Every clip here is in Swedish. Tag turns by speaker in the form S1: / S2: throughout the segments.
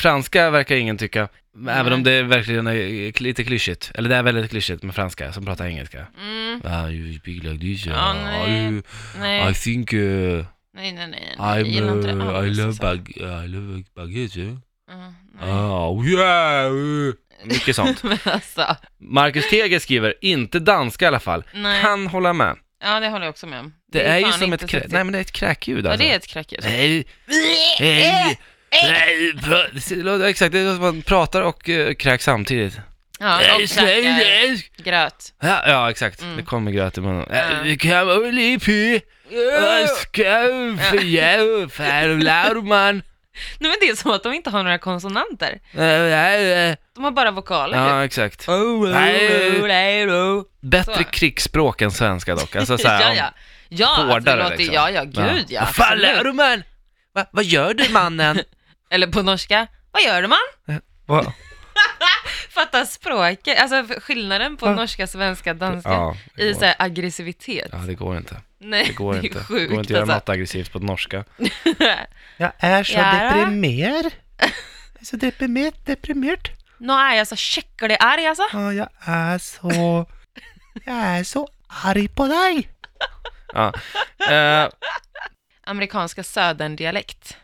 S1: franska verkar ingen tycka, även om det verkligen är lite klyschigt. Eller det är väldigt klyschigt med franska som pratar engelska.
S2: Mm.
S1: Ah, you speak like this, uh,
S2: Ja, nej.
S1: I, I
S2: Nej,
S1: think uh,
S2: nej, nej, nej. Jag
S1: I'm,
S2: gillar inte det
S1: uh, I
S2: alls,
S1: love
S2: alltså.
S1: bag, I love baguette. eh?
S2: Ja, nej.
S1: Ah, yeah! uh. Mycket sånt.
S2: Men alltså,
S1: Marcus Teger skriver, inte danska i alla fall.
S2: nej.
S1: Kan hålla med.
S2: Ja, det håller jag också med om.
S1: Det, är, ju
S2: fan
S1: som ett,
S2: inte
S1: krä...
S2: sexigt.
S1: Nej, men det är ett kräkljud
S2: Ja,
S1: alltså.
S2: det Eh! är ett kräkljud.
S1: Nej, nej, nej, pra- det låter- exakt, det är som att man pratar och eh, kräks samtidigt.
S2: Ja, och kräkar. Gröt.
S1: Ja, ja, exakt.
S2: Mm.
S1: Det kommer gröt i munnen.
S2: Ja.
S1: Vi kan väl i py, vad ska jag för jävla farlar, man?
S2: Nej, men det är som att de inte har några konsonanter.
S1: Eh, eh, eh.
S2: De har bara vokaler. Oh,
S1: Ja, exakt. Nej.
S2: Ja.
S1: Bättre
S2: Så.
S1: krigsspråk än svenska dock. Alltså såhär,
S2: oh, ja, ja. Ja, alltså, det
S1: hårdare
S2: låter,
S1: liksom.
S2: ja, ja, gud ja.
S1: Vad fan lär du
S2: absolut.
S1: man? Va, vad gör du mannen?
S2: Eller på norska, vad gör man?
S1: Va?
S2: Fattar språket, alltså skillnaden på
S1: Va?
S2: norska, svenska, danska
S1: Ja, det
S2: i
S1: går.
S2: så här aggressivitet.
S1: ja, det går inte.
S2: Nej,
S1: Det går
S2: är
S1: inte. Det
S2: sjukt
S1: går inte att göra
S2: alltså.
S1: något aggressivt på norska. Jag är så
S2: Ja, då.
S1: deprimerad. Jag är så deprimerad, deprimerad.
S2: Nu är jag så checklig arg alltså.
S1: Ja, jag är så... Jag är så arg på dig. Ja. Eh,
S2: Amerikanska söderndialekt.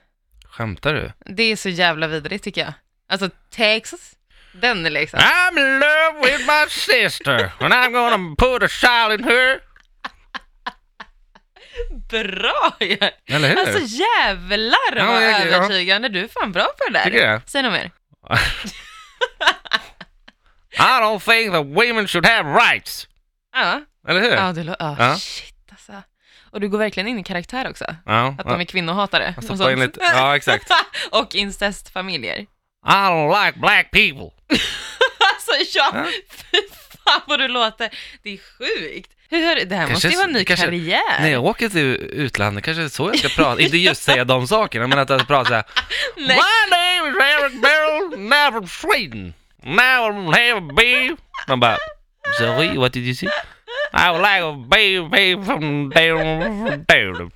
S1: skämtar du?
S2: Det är så jävla vidrigt tycker jag. Alltså Texas, den är liksom.
S1: I'm in love with my sister and I'm gonna put a child in her.
S2: Bra ju!
S1: Eller hur?
S2: Alltså jävlar
S1: Ja,
S2: vad
S1: jag- ja.
S2: övertygande, du är fan bra på det där.
S1: Tycker jag.
S2: Säg något mer.
S1: I don't think that women should have rights.
S2: Ja,
S1: Eller hur?
S2: ja, du, lo- ja,
S1: Äh. Ja.
S2: shit alltså. Och du går verkligen in i karaktär också.
S1: Ja,
S2: Att
S1: ja.
S2: de är kvinnohatare.
S1: Jag
S2: och
S1: stoppar
S2: sånt.
S1: in lite- ja, exakt.
S2: och incestfamiljer.
S1: I don't like black people.
S2: Alltså ja,
S1: Ja.
S2: fy fan vad du låter. Det är sjukt. Hur, det här
S1: Kanske
S2: måste ju vara en
S1: så-
S2: ny
S1: kanske-
S2: karriär.
S1: När jag åker till utlandet kanske det är så jag ska prata, inte just säga de sakerna, men att jag pratar såhär
S2: Nej.
S1: My name is Eric Beryl, now from Sweden, now I'm have a baby Man bara, sorry, what did you say? I would like a baby from down from down